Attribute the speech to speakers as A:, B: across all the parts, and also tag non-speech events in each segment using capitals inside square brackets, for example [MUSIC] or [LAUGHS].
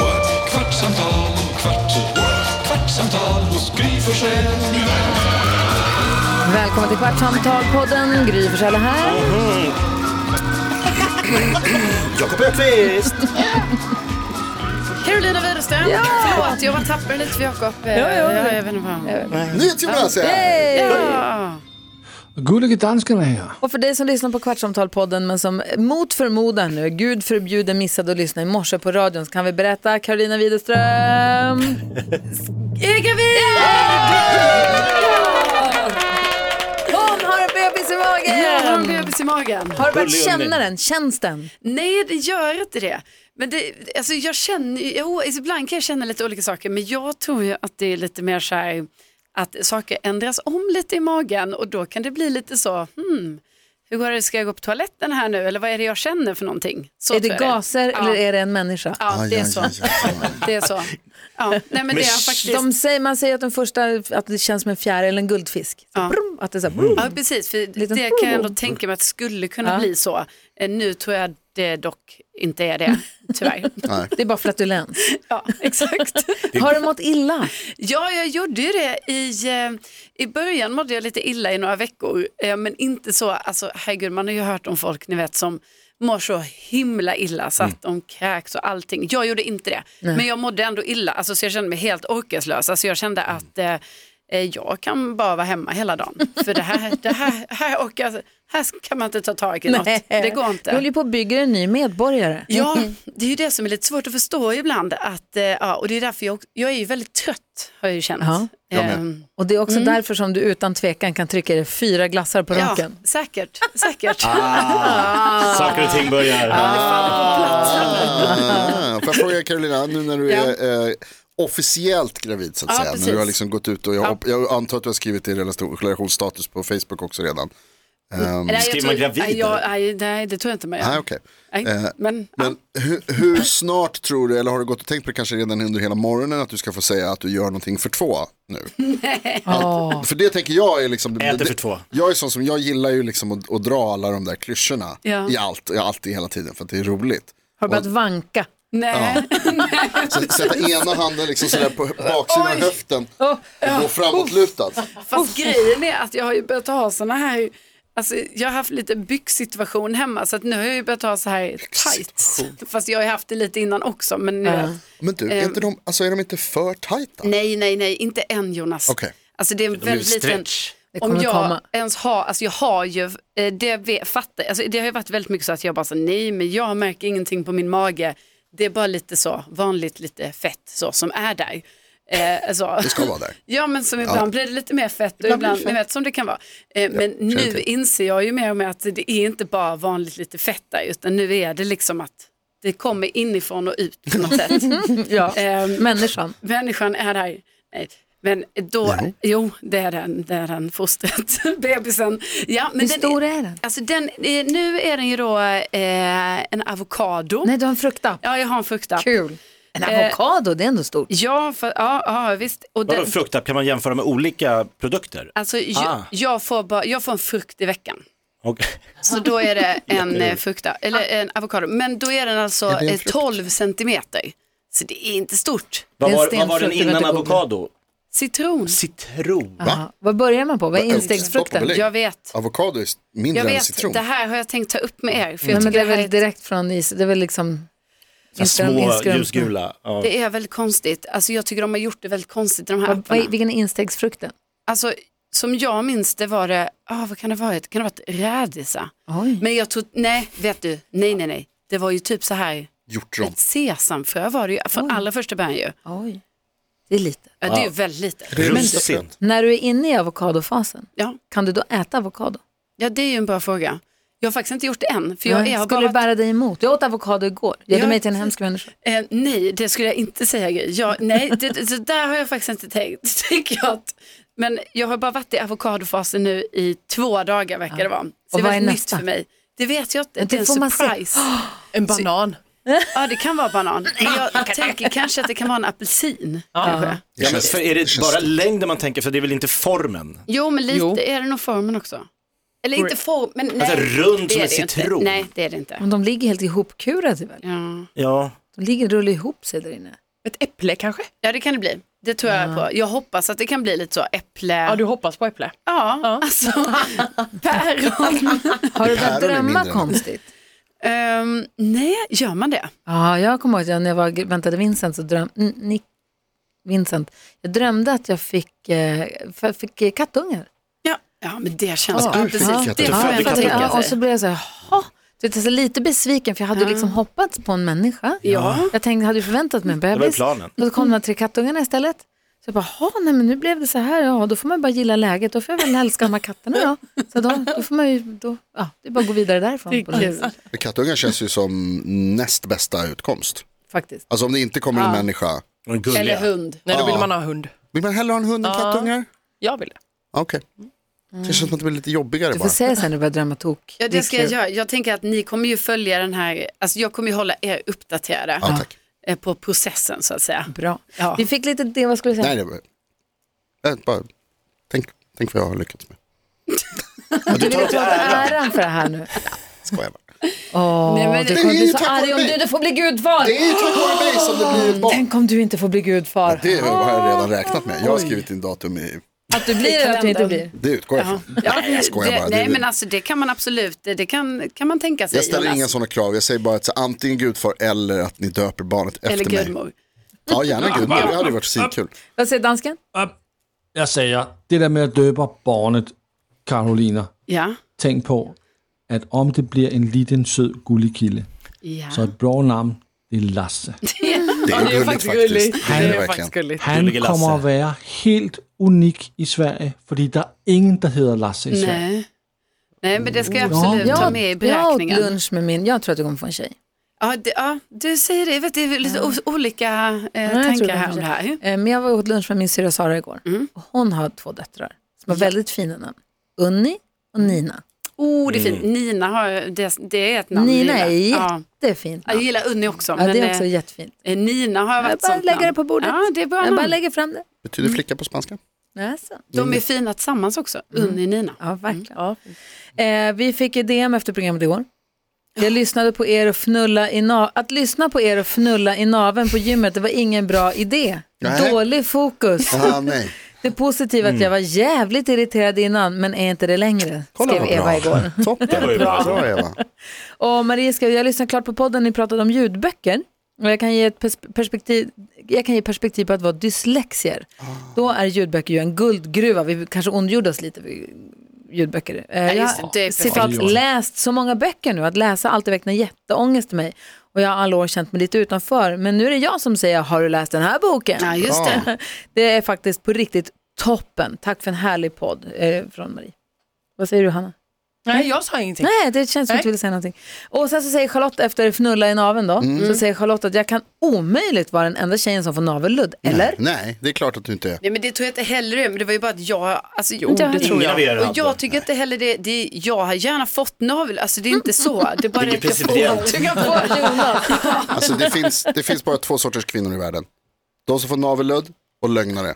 A: what? kvartsamtal, kvart, what? kvartsamtal hos Gry Forssell med vänner.
B: Välkommen till Kvartsamtal-podden. Gry Forssell är här.
C: Jakob Öqvist!
D: Carolina Widerström.
B: Ja!
D: Förlåt, jag var tapper lite för Jakob. Ja, ja, ja. Jag vet inte vad.
E: NyhetsJonas är här!
D: Ja.
F: Gullige dansken är här.
B: Och för dig som lyssnar på Kvartsamtal-podden men som mot förmodan nu, gud förbjude, missade att lyssna i morse på radion så kan vi berätta Carolina Widerström
D: [LAUGHS]
B: är gravid! Hon har en bebis i
D: Jag har en
B: magen!
D: bebis i magen.
B: Har du börjat känna den? Känns den?
D: Nej, det gör inte det. Men det, alltså jag känner, ju- jo, alltså, ibland kan jag känna lite olika saker, men jag tror ju att det är lite mer så här att saker ändras om lite i magen och då kan det bli lite så, hmm, hur går det, ska jag gå på toaletten här nu eller vad är det jag känner för någonting? Så
B: Är det
D: tror jag
B: gaser
D: Ja.
B: eller är det en människa?
D: Ja, det är så.
E: Aj, aj, aj, aj.
D: Det är så. Ja. Nej, men det är faktiskt...
B: De säger, man säger att den första, att det känns som en fjäril eller en guldfisk. Så
D: Ja.
B: brum, att det är så här, brum.
D: Ja, precis. För
B: Liten-
D: det kan jag ändå tänka mig att skulle kunna
B: Ja.
D: bli så. Eh, Nu tror jag det dock inte är det, tyvärr.
B: Det är bara flatulens.
D: ja, exakt.
B: Har du mått illa?
D: Ja, jag gjorde ju det i, eh, i början mådde jag lite illa i några veckor, eh, men inte så, alltså herregud, man har ju hört om folk, ni vet, som mår så himla illa så att de kräks och allting. Jag gjorde inte det, men jag mådde ändå illa, alltså så jag kände mig helt orkeslös, alltså jag kände att eh, eh, jag kan bara vara hemma hela dagen, för det här, det här, här, orkar, här kan man inte ta
B: [LAUGHS]
D: tag i något, det går inte.
B: Du håller ju på att bygga en ny medborgare.
D: Ja, det är ju det som är lite svårt att förstå ibland. Att, eh, ja, och det är därför jag, också- jag är ju väldigt trött har jag ju känt.
B: Ja,
D: Ehm,
B: Och det är också därför som du utan tvekan kan trycka dig fyra glassar på
D: ja
B: raken.
D: säkert. säkert.
C: Saker och ting börjar.
G: Ah, Får jag fråga Carolina, nu när du är eh, officiellt gravid så att
D: Ja,
G: säga,
D: precis.
G: när du har liksom gått ut och jag, hopp- jag antar att du har skrivit i relationsstatus på Facebook också redan. Ehm,
D: Nej, jag
C: Skriver
D: tror-
C: man gravid,
D: Nej, jag,
C: eller? Ah,
D: nej, nej, det tror jag inte man
G: nej,
D: gör.
G: okej.
D: Nej,
G: Eh,
D: men,
G: Men hur, hur snart tror du, eller har du gått och tänkt på det kanske redan under hela morgonen att du ska få säga att du gör någonting för två
D: [LAUGHS]
G: nu? Att, för det tänker jag är liksom... det-
C: Äter för
G: det-
C: två.
G: Jag är sån som, jag gillar ju liksom att, att dra alla de där klyschorna
D: Ja.
G: i allt, i alltid hela tiden för att det är roligt.
B: Har du börjat vanka?
D: nej.
G: Så- Sätta ena handen liksom sådär på baksidan av höften och gå framåtlutad.
D: [LAUGHS] Fast grejen är att jag har ju börjat ha såna här, alltså, jag har haft lite byxsituation hemma så att nu har jag ju börjat ha så här tights. Fast jag har ju haft det lite innan också. Men nu,
G: Men du, är, inte de, alltså är de inte för tajta?
D: Nej, nej, nej, inte än Jonas.
G: Okej.
D: Alltså det är en
C: blir
D: väldigt liten...
C: stretch.
B: Det kommer
D: Om jag
B: komma.
D: ens har, alltså jag har ju, eh, det, ve- fattar, alltså det har ju varit väldigt mycket så att jag bara så nej men jag märker ingenting på min mage. Det är bara lite så vanligt lite fett så som är där. Eh, så.
G: Det ska vara där.
D: Ja men som ibland blir det lite mer fett och ibland, ni vet som det kan vara. Eh, men nu
G: till.
D: inser jag ju mer och mer att det är inte bara vanligt lite fett där utan nu är det liksom att det kommer inifrån och ut på något
B: [LAUGHS]
D: sätt.
B: Ja.
D: Ehm,
B: Människan.
D: människan är där. Nej. Men då, jo det är den, det är den, fostret, [LAUGHS] bebisen. Ja, men
B: Hur
D: den
B: stor är den?
D: Alltså den, eh, nu är den ju då eh, en avokado.
B: Nej, du har en fruktapp.
D: Ja, Eh. jag har en fruktapp.
B: Kul. En avokado, det är ändå stort.
D: Ja, för, ja, ja, visst. Och
C: Vadå
D: den,
C: fruktapp, kan man jämföra med olika produkter?
D: alltså, jag,
C: Ah.
D: jag, får bara, jag får en frukt i veckan.
C: Och,
D: Så då är det en eh, frukta, eller en avokado. Men då är den alltså
G: det en
D: eh,
G: frukt?
D: 12 centimeter. Så det är inte stort.
C: vad,
B: en
C: var, vad var den
B: stenfrukt, det
C: innan
B: låter gott.
C: avokado?
D: Citron.
C: Citron.
B: Ja. Vad börjar man på? Vad är
G: Stopp och
B: instegsfrukten?
G: belägg.
D: Jag vet.
G: Avokado är mindre
D: Jag
G: än
D: vet,
G: citron.
D: det här har jag tänkt ta upp med er. För jag
B: Nej, Mm. men
D: tycker
B: det är
D: det, här är
B: väl direkt från is, det är väl liksom...
C: Så här
B: Instagram-
C: Små
B: Instagram-
C: ljusgula. Ja.
D: det är väldigt konstigt. Alltså, jag tycker de har gjort det väldigt konstigt i de här
B: Vad, vad, är-
D: apparna.
B: vilken är instegsfrukten?
D: Alltså, som jag minns det var det, ah vad kan det ha varit? Kan det ha varit rädisa?
B: Oj.
D: Men jag tror, nej, vet du, nej, nej, nej. Det var ju typ så här,
G: Hjortron.
D: ett sesamfrö var det ju från allra första början ju.
B: Oj. Det är lite.
D: Ja, det är ju väldigt lite.
C: Russin.
B: När du är inne i avokadofasen,
D: Ja.
B: kan du då äta avokado?
D: ja, det är ju en bra fråga. Jag har faktiskt inte gjort det än. För jag är, har
B: Skulle
D: bara
B: du bära dig emot? Jag åt avokado igår. Gör du
D: Ja,
B: mig till en
D: precis.
B: hemsk människa?
D: Eh, nej, det skulle jag inte säga. Gry. Jag, nej, det, det, det där har jag faktiskt inte tänkt. [LAUGHS] Tycker jag. att- Men jag har bara varit i avokadofasen nu i två dagar verkar det vara. Så det är
B: vad är
D: väldigt nytt
B: nästa?
D: för mig. Det vet jag inte.
B: Men det
D: Det, är en
B: får man se.
D: surprise.
H: En banan.
D: Ja, det kan vara banan. Men jag tänker kanske att det kan vara en apelsin. Kanske.
C: Ja, men för är det bara längden man tänker, för det är väl inte formen?
D: Jo, men lite
H: Jo.
D: är det nog formen också. Eller inte form, men nej.
C: Alltså, rund
D: det
C: som
D: är
C: en
D: det ju inte.
C: citron.
D: Nej, det är det inte.
B: Men de ligger helt ihopkurade väl?
D: Ja.
C: Ja.
B: De ligger och rullar ihop sig där inne.
H: Ett äpple kanske?
D: ja, det kan det bli. Det tror jag på. Jag hoppas att det kan bli lite så äpple.
H: Ja, du hoppas på äpple.
D: Ja, alltså
B: [LAUGHS]
D: päron.
B: Har du börjat
G: Päron är
B: drömma
G: mindre än-
B: konstigt?
D: Ehm, nej, gör man det?
B: Ja, jag kommer ihåg att jag, när jag var, väntade Vincent så dröm, N- Nick, Vincent, jag drömde att jag fick, eh, för- fick eh, kattungar.
D: Ja, ja men det känns...
G: Att du
D: ja,
G: fick
D: precis.
G: kattungar.
D: det
G: Du
D: får
B: Ja,
D: jag
C: födde
B: fattar
D: tänka
B: jag.
C: kattungar.
B: ja, och
D: sig.
B: så blev jag så här, jaha. Du vet, alltså, lite besviken för jag hade ju liksom hoppats på en människa.
D: Ja.
B: Jag tänkte, hade ju förväntat mig en bebis.
C: var ju planen.
B: Och då kom de här tre kattungarna istället. Så jag bara, jaha, nej men nu blev det så här, ja då får man bara gilla läget, då får jag väl älska de här katterna då. Så då, då får man ju, då, ja, det är bara att gå vidare därifrån. På något vis,
G: Kattungar känns ju som näst bästa utkomst.
B: faktiskt.
G: Alltså om det inte kommer en människa.
C: Och en gulliga.
D: Eller hund.
H: Nej, då vill
G: Ja.
H: man ha hund.
G: Vill man hellre ha en hund än kattungar? Ah,
H: Jag vill det.
G: Okej. Det känns som att det blir lite jobbigare
B: Du
G: bara.
B: får säga sen när du börjar drömma tok.
D: Ja, det ska jag
B: är kul.
D: göra. Jag tänker att ni kommer ju följa den här, alltså jag kommer ju hålla er uppdaterade
G: Ja, tack.
D: eh, på processen så att säga.
B: Bra.
D: Ja.
B: Vi fick lite det, vad skulle du säga?
G: Nej, det var... Jag bara... tänk, tänk vad jag har lyckats med.
B: du vill inte ta äran för det här nu.
G: Skojar bara.
B: Åh,
D: Nej, men
B: du
D: det
B: kommer
G: är
B: bli
G: ju
B: så
G: tack
B: arg
G: vare
B: om
G: mig.
B: du inte får bli gudfar.
G: Det är ju tack vare mig som det blir ett barn.
B: Tänk om du inte får bli gudfar.
G: Det har jag redan räknat med. Jag har skrivit in datum i...
B: Att du blir eller att du inte blir.
G: Det utgår jag ifrån. Nej, jag skojar bara.
D: det,
G: Det-
D: nej men alltså det kan man absolut, det det kan, kan man tänka sig.
G: Jag ställer
D: Jonas.
G: inga sådana krav. Jag säger bara att så, antingen gudfar eller att ni döper barnet efter
D: Eller
G: mig.
D: gudmor.
G: Ja, gärna gudmor. Det hade varit svinkul.
B: Vad säger dansken?
F: Jeg säger, det der med at døbe barnet, Karolina,
D: Ja.
F: tænk på, at om det bliver en liten sød gullekilde,
D: ja.
F: så et blå navn, det er Lasse.
G: Det är gulligt faktiskt. Det är det verkligen.
H: gulligt.
F: Han
C: Gullige Lasse.
F: kommer at være helt unik i Sverige, fordi der er ingen, der hedder Lasse i Sverige.
D: Nej. nej, men det ska jag absolut
F: Ja.
D: ta med i
B: jag åt
D: beräkningen.
B: lunch med min, jag tror att du kommer få en tjej.
D: Ja, det, ja, du säger det. Jag vet, det är lite o- olika eh,
B: jag tror
D: tankar
B: det
D: här om det här.
B: Eh, Men jag var åt lunch med min syrra Sara igår.
D: Mm.
B: Och hon har två döttrar som har väldigt fina namn. Unni och Nina.
D: Oh, det är
H: Mm.
D: fint. Nina har, det, det är ett namn.
B: Nina
D: jag
B: är
D: gillar. ja.
B: jättefint
D: Ja, Jag
B: namn.
D: gillar Unni också,
B: Ja,
D: men
B: det är också
D: eh,
B: jättefint.
D: eh, Nina har varit
B: Jag
D: ett
B: bara
D: sånt
B: lägger det
D: namn.
B: på bordet.
D: Ja, det är bra
B: Jag bara
D: namn.
B: lägger fram det.
G: Betyder flicka på
B: [LAUGHS]
G: spanska?
B: Jaså.
D: De är fina tillsammans också,
B: Mm.
D: Unni och Nina.
B: Ja, verkligen. Eh, vi fick ett DM efter programmet igår. Jag lyssnade på er och fnulla i na- Att lyssna på er och fnulla i naven på gymmet, det var ingen bra idé.
G: Nej.
B: Dålig fokus.
G: Ah, nej.
B: Det positiva är att jag var jävligt irriterad innan, men är inte det längre,
G: Mm. Kolla
B: skrev
G: vad bra.
B: Eva igår.
G: [LAUGHS] Toppen.
C: ju
G: Bra. bra Eva.
B: Och Maria skrev, jag lyssnade klart på podden, ni pratade om ljudböcker. Och jag kan ge, ett pers- perspektiv, jag kan ge perspektiv på att vara dyslexier.
D: Ah.
B: Då är ljudböcker ju en guldgruva. Vi kanske ondgjorde oss lite vid ljudböcker. Eh, Jag
D: just det, det är
B: har citat,
F: perfekt. Oj, oj.
B: läst så många böcker nu. Att läsa har alltid väckt en jätteångest i mig. Och jag har alla år känt mig lite utanför. Men nu är det jag som säger, har du läst den här boken?
D: Ja, just det.
B: [LAUGHS] Det är faktiskt på riktigt toppen. Tack för en härlig podd eh, från Marie. Vad säger du Hanna?
H: Nej, jag sa ingenting.
B: Nej, det känns som att du ville säga någonting. Och sen så säger Charlotte efter fnulla i naveln då,
G: Mm.
B: så säger Charlotte att jag kan omöjligt vara den enda tjejen som får navelludd,
C: [LAUGHS]
B: eller?
G: Nej, det är klart att du inte är.
D: Nej, men det tror jag inte heller det, men det var ju bara att jag... Alltså, jo,
B: det tror
C: Ingen jag. av er
D: Och
C: hade.
D: jag tycker inte heller det, det jag har gärna fått navel, alltså det är inte så. Det är bara
C: Det är
D: att jag
C: principiellt.
D: får. [LAUGHS] Du kan få Jonas.
G: Alltså, det, finns, det finns bara två sorters kvinnor i världen. De som får navelludd och lögnare.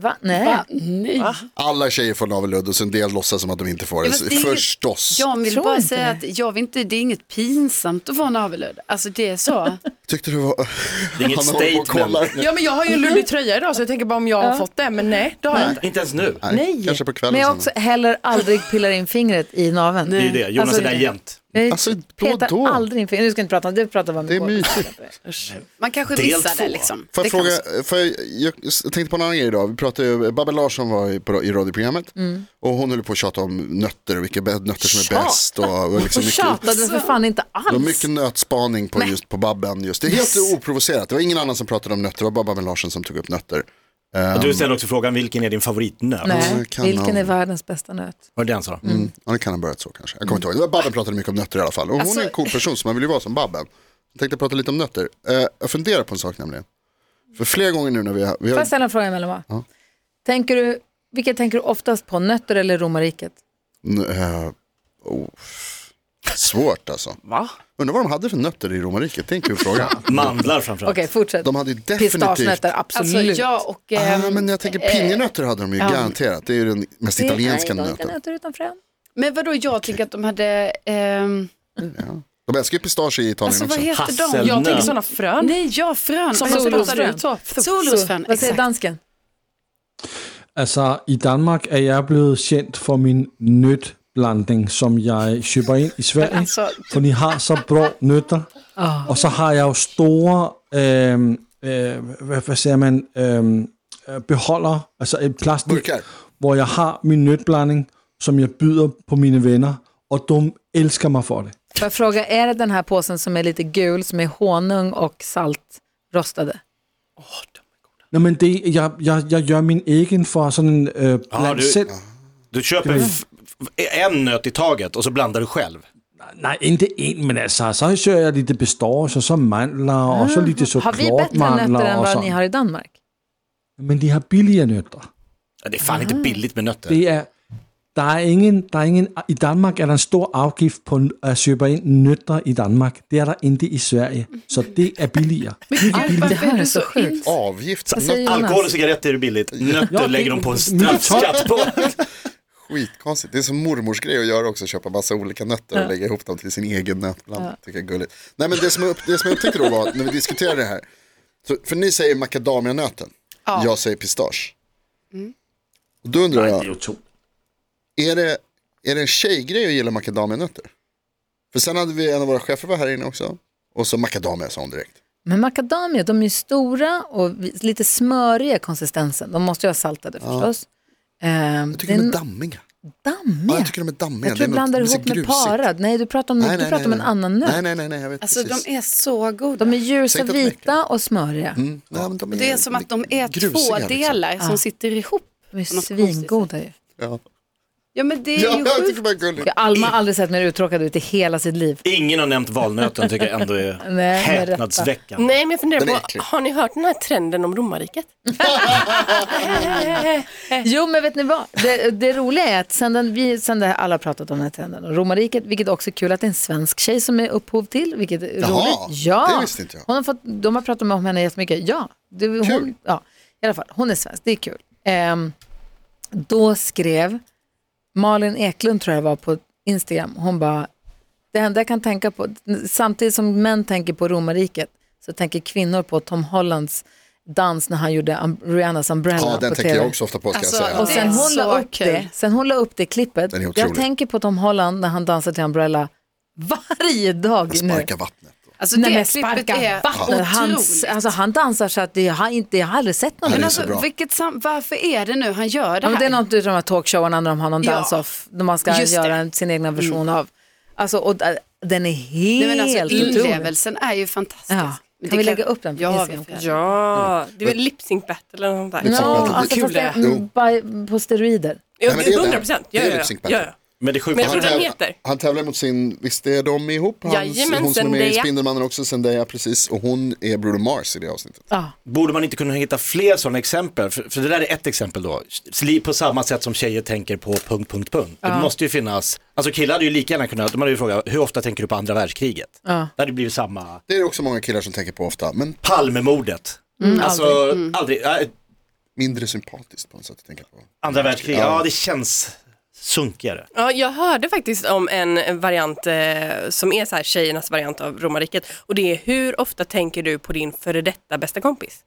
B: Va? Nej.
D: Va? Nej.
G: Alla tjejer får navelludd och så en del låtsas som att de inte får det.
D: Ja, men det är ju-
G: Förstås.
D: Jag vill
B: Tror
D: bara
B: inte
D: säga
B: det.
D: att jag vill inte, det är inget pinsamt att vara navelludd. Alltså det är så.
G: Tyckte du var...
C: Det är inget
G: Han håller på och
C: statement.
G: kollar.
H: Ja, men jag har ju en luddig tröja idag så jag tänker bara om jag har fått det, men nej, det har jag inte.
C: Inte ens nu.
G: Nej. Kanske på kvällen
B: Men jag
G: sen.
B: också heller aldrig pillar in fingret i naveln.
C: Det är ju det. Jonas
B: Alltså,
C: är där jämt.
B: Jag
G: Alltså, då och
B: petar
G: då.
B: aldrig in fingret, nu ska jag inte prata om det, vi pratar bara om
G: Det är
B: igår.
G: mysigt.
D: Man kanske
C: Del
D: missar
C: två.
D: det liksom.
G: Får
D: det
G: jag
D: kan
G: fråga,
D: vara så.
G: för jag, jag tänkte på en annan grej idag. Vi pratade ju, Babbel Larsson var i, på, i radioprogrammet och hon höll på att tjata om nötter och vilka bä- nötter som är
B: Tjata?
G: bäst. Och, och liksom
B: Och
G: mycket,
B: tjatade för fan inte
G: det var
B: alls.
G: mycket nötspaning på, just, på Babben. Just. Det är helt oprovocerat. Det var ingen annan som pratade om nötter, det var bara Babbel Larsson som tog upp nötter. Ehm,
C: Och du ställde också frågan, vilken är din favoritnöt?
B: Nej,
G: kan
B: vilken
G: ha-
B: är världens bästa nöt?
C: Var det den sa?
G: Mm. Ja, det kan ha börjat så kanske. Jag kommer inte ihåg. Det var Babben pratade mycket om nötter i alla fall. Och hon
D: Alltså-
G: är en cool person så man vill ju vara som Babben. Jag tänkte prata lite om nötter. Eh, jag funderar på en sak nämligen. För flera gånger nu när vi har... Vi
B: Får jag
G: har
B: ställa en fråga Melma?
G: Ja.
B: Tänker du, vilka tänker du oftast på, nötter eller romarriket?
G: N- eh, oh. Svårt alltså.
H: Va?
G: Undrar vad de hade för nötter i romarriket. Det är en kul fråga.
C: Mandlar framförallt.
B: Okej, fortsätt.
G: De hade ju definitivt...
B: Pistagenötter,
D: Alltså
B: absolut.
D: jag och...
G: Ah,
D: ehm,
G: men jag tänker pinjenötter hade de ju garanterat. Det är ju den mest
B: Eh, Det är-
G: italienska
B: nej,
G: nöten.
B: nötter utan frön.
D: Men vadå, jag tänker att de hade... ehm,
G: De älskar ju pistage i Italien
D: alltså vad
G: också.
D: heter de?
C: Hasselnöt.
H: Jag tänker sådana frön
D: Nej, ja, frön. Alltså,
H: som
D: Vad
H: man
D: heter
B: Solrosfrön.
D: de?
H: spottar ut så.
D: Solrosfrön,
B: Vad säger
D: exakt.
B: dansken?
F: Altså, Alltså, i Danmark er jeg blevet kendt for min nødblanding, som jeg køber ind i Sverige,
D: Altså,
F: for de har så bra nødder.
B: Ah.
F: Og så har jeg jo store, øhm, øh, hvad, hvad siger man, øhm, øh, beholder, altså et plastik,
G: Burkar.
F: hvor jeg har min nødblanding, som jeg byder på mine venner, og de elsker mig for det.
B: Får jag fråga, är det den här påsen som är lite gul, som är honung och salt rostade?
F: Nå, men det, jeg, jeg, jeg gør min egen for sådan en øh, bland
C: du-
F: selv.
C: Du köper f- f- en nöt i taget og så blandar du själv.
F: Nej, inte en, men alltså, så kör jag lite bestås och så mandlar och så lite
B: Har vi bättre nötter
F: chokladmandlar
B: än
F: och
B: vad ni
F: sånt.
B: har i Danmark?
F: Men de har billiga nötter.
C: Ja, Det är fan inte billigt med nötter.
F: Det är, der är ingen, der är ingen, I Danmark är det en stor avgift på att köpa in nötter i Danmark. Det är det inte i Sverige, så det är billigare.
D: Gud,
B: Det
D: varför är
B: här är
D: du
B: så
D: så in...
B: sjukt.
G: Avgift.
B: Vad säger Jonas?
C: Alkohol och cigaretter är billigt, nötter
F: Ja, det-
C: lägger de på en straffskatt på.
G: Skitkonstigt. Det är som mormors grej att göra också, köpa massa olika nötter och lägga ihop dem till sin egen nötblandning. Tycker jag är gulligt. Nej men det som, jag upp, det som jag upptäckte då var, när vi diskuterade det här, så, för ni säger macadamianöten, jag säger pistage.
B: Mm.
G: Och då undrar jag, är det, är det en tjejgrej att gilla macadamianötter? För sen hade vi en av våra chefer var här inne också, och så macadamia sa hon direkt.
B: Men macadamia, de är ju stora och vi- lite smöriga i konsistensen. De måste ju ha saltade förstås. Ehm,
G: Jag
B: det
G: tycker
B: är
G: de är
B: en
G: dammiga.
B: dammiga.
G: Ja, jag tycker de är dammiga.
B: Jag tror du
G: Det är något-
B: blandar
G: det är så
B: ihop med
G: grusigt.
B: parad. Nej, du pratar om, du pratar om en annan nöt.
G: Nej, nej, nej, nej, jag vet
D: Alltså
G: precis.
D: de är så goda.
B: De är ljusa,
G: Säg inte att de är
B: vita och smöriga.
G: Mm, nej, men de
D: Det är som att de är
G: grusiga,
D: två
G: liksom.
D: delar som sitter ihop.
B: De är
D: På något
B: svingoda ju.
G: Ja.
D: Ja men det är
G: Ja,
D: ju
G: jag tycker
D: sjukt.
G: bara det är gulligt.
B: Ja, Alma har aldrig sett mer uttråkad ut i hela sitt liv.
C: Ingen har nämnt valnöten tycker jag ändå är
B: med rätta.
C: häpnadsväckande.
H: Nej, men jag funderar
G: Den är
H: på,
G: äcklig.
H: har ni hört den här trenden om romarriket?
B: [LAUGHS] Jo, men vet ni vad? Det, det roliga är att sen, den, vi, sen det här, alla har pratat om den här trenden och romarriket, vilket också är kul att det är en svensk tjej som är upphov till, vilket är
G: Jaha,
B: roligt. Ja,
G: det visste inte jag.
B: Hon har fått, de har pratat om henne jättemycket. Ja, det, hon,
G: Kul.
B: ja, i alla fall, hon är svensk, det är kul. Ehm, då skrev Malin Eklund, tror jag det var, på Instagram, hon bara, det enda jag kan tänka på, samtidigt som män tänker på romarriket, så tänker kvinnor på Tom Hollands dans när han gjorde um, Rihannas Umbrella
G: Ja, den
B: på
G: tänker jag
B: TV.
G: också ofta på ska
D: Alltså,
G: jag säga.
B: Och
D: Det
B: sen
D: är
B: hon, la
D: så
B: upp
D: kul.
B: det, sen hon la upp det klippet.
G: Den är
B: Jag
G: otrolig.
B: tänker på Tom Holland när han dansar till Umbrella varje dag nu.
G: Sparka vattnet.
D: Alltså
B: Nej,
D: det
B: men
D: klippet
B: sparka
D: är
B: vattnet. Han,
D: otroligt.
B: alltså, han dansar så att det- jag har, inte, jag har aldrig sett någon.
D: Men
G: Ja, det är
B: Men,
G: så
D: alltså,
G: bra.
D: vilket sam- varför är det nu han gör det
B: det,
D: här?
B: det är något utav de här talkshowarna när de har någon
D: Ja.
B: dance-off. När man ska
D: Just det. Mm.
B: göra en- sin egna version av. Alltså, och, äh, den är
D: Nej, men
B: helt
D: alltså,
B: otrolig.
D: inlevelsen är ju fantastisk.
B: Ja.
D: Men
B: Kan vi
D: det är
B: lägga
D: klart-
B: upp den på
D: Ja,
B: Instagram?
D: vi får göra
H: Ja,
G: Mm.
H: det är väl lip sync battle eller något sånt där.
B: No,
G: Liksom,
B: alltså,
G: kul
B: fast det
H: det
B: är
H: är.
B: mm, by- på
D: Mm,
B: steroider.
H: Ja,
G: Nej, men
H: det
G: det är
H: är
G: det.
H: 100 procent. Ja,
G: Det är
H: ja,
G: lip sync
H: ja.
G: battle.
H: ja.
C: Men det
H: Men
C: sjuka
H: jag tror
G: Han,
H: den
G: täv-
H: heter.
G: han tävlar mot sin, visst är de ihop? Han,
H: Jajamän,
G: hon som är med i
H: Zendaya.
G: Spindelmannen också, Zendaya, precis. Och hon är Bruno Mars i det avsnittet.
C: Borde man inte kunna hitta fler sådana exempel? För, för det där är ett exempel då. Sli- På samma sätt som tjejer tänker på punkt, punkt, punkt. Det måste ju finnas, alltså killar hade ju lika gärna kunnat, de hade ju frågat hur ofta tänker du på andra världskriget? Det hade blivit samma,
G: Det är det också många killar som tänker på ofta, men
C: Palmemordet.
I: Mm,
B: Mm,
C: alltså, aldrig, ja,
G: mindre sympatiskt på något sätt att tänka på.
C: andra världskriget, ja. det känns sunkigare.
H: Ja, jag hörde faktiskt om en variant eh, som är så här tjejernas variant av romarriket och det är hur ofta tänker du på din före detta bästa kompis?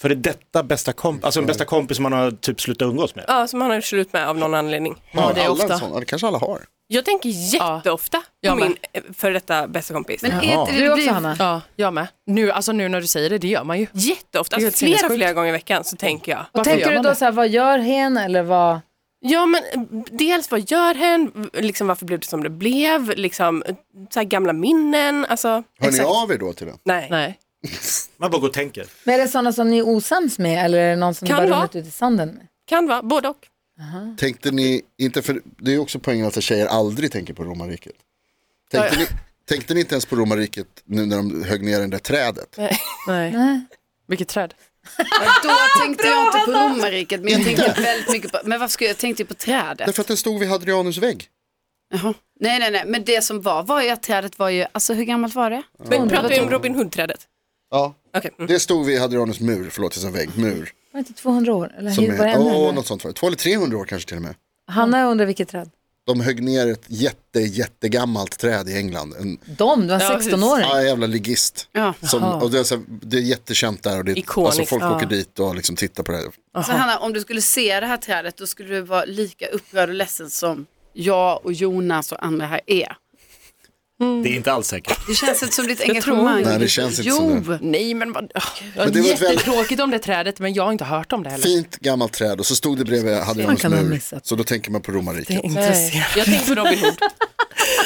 C: För det är detta bästa kompis, alltså en bästa kompis som man har typ slutat umgås med.
H: Ja, som han har gjort slut med av någon anledning.
G: Har
H: det är
G: alla
H: ofta.
G: en sån? Ja, det kanske alla har.
H: Jag tänker jätteofta på
I: Jag med.
H: min eh, före detta bästa kompis.
D: Men är inte det,
B: Du
D: det
B: också
D: blir
B: Hanna?
I: Ja, jag med. Nu, alltså nu när du säger det, det gör man ju.
H: Jätteofta,
I: Det är
H: alltså,
I: helt
H: flera,
I: sinnessjukt.
H: flera gånger i veckan så tänker jag.
I: Varför
B: Tänker
I: gör
B: du
I: man
B: då
I: det?
B: så här, vad gör hen eller vad?
H: Ja men eh, dels vad gör hen, liksom varför blev det som det blev, liksom eh, så här gamla minnen, alltså.
G: Hör ni
H: Exakt.
G: av er då till den?
H: Nej.
I: Nej.
C: Man bara går och tänker.
B: Men är det sådana som ni är osams med eller är det någon som ni
H: Kan
B: bara
H: vara.
B: runnit ut i sanden med?
H: Kan vara, både och.
G: Tänkte ni, inte för, det är ju också poängen att tjejer aldrig tänker på romarriket. Tänkte, ni, tänkte ni inte ens på romarriket nu när de högg ner det där trädet?
I: Nej. Vilket träd?
D: Då tänkte jag inte på romarriket, men jag
G: Inte?
D: tänkte väldigt mycket på, men varför skulle jag tänkte ju på trädet.
G: Därför att det stod vid Hadrianus vägg.
D: Nej, nej, nej, men det som var var ju att trädet var ju, alltså hur gammalt var det?
H: Men pratar vi om Robin Hood-trädet?
G: Ja. Det stod vid Hadrianus mur, förlåt, det är en vägg, mur.
B: Var det inte 200 år? Eller
G: Som
B: hur, var det
G: är,
B: ännu
G: åh,
B: äldre?
G: något sånt var det. Två eller 300 år kanske till och med.
B: Hanna jag undrar vilket träd.
G: De högg ner ett jätte, jättegammalt träd i England. En,
B: De, det var en 16-åring.
G: Ja, en jävla ligist.
D: Ja.
G: Som, och det, är så här, det är jättekänt där och det,
H: Ikoniskt,
G: alltså folk
H: ja.
G: åker dit och liksom tittar på det. här.
D: Så Alltså, Hanna, om du skulle se det här trädet då skulle du vara lika upprörd och ledsen som jag och Jonas och andra här är.
C: Det är inte alls säkert.
D: Det känns inte som ditt
I: Jag tror
D: engagemang.
I: inte.
G: Nej, det känns inte
D: jo,
G: som det.
I: Nej, men vad... åh,
G: Men det var ett väldigt-
I: jättetråkigt om det trädet, men jag har inte hört om det heller.
G: Fint gammalt träd och så stod det bredvid Hadrianus
B: kan man
G: mur.
B: missa.
G: Så då tänker man på romarriket.
I: Nej. Jag tänkte på Robin Hood.
G: Det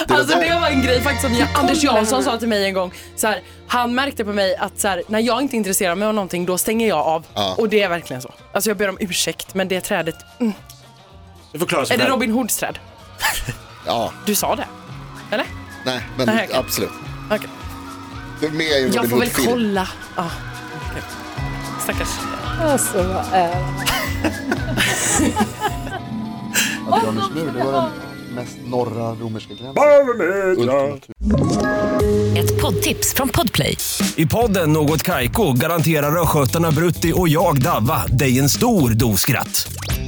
G: var
I: Eh, Alltså [LAUGHS]
G: där.
I: det var en grej faktiskt som jag, Anders Jansson sa till mig en gång. Så här, han märkte på mig att så här, när jag inte intresserar mig av någonting då stänger jag av.
G: Ja.
I: Och det är verkligen så. Alltså jag ber om ursäkt men det trädet, mm.
C: Du får klara sig
I: är det
C: själv.
I: Robin Hoods träd?
G: Ja,
I: Du sa det? Eller?
G: nej, men
I: Nej, okej.
G: absolut.
I: Okej.
G: Du är med i en
I: Jag
G: Robin
I: får väl
G: Hood-film.
I: kolla. Ja. okej. Stackars.
B: Alltså, vad är det?
G: Hadrianus mur, det var den mest norra romerska gränsen.
J: Ett poddtips från Podplay.
K: I podden Något Kaiko garanterar östgötarna Brutti och jag, Davva, dig en stor dos skratt.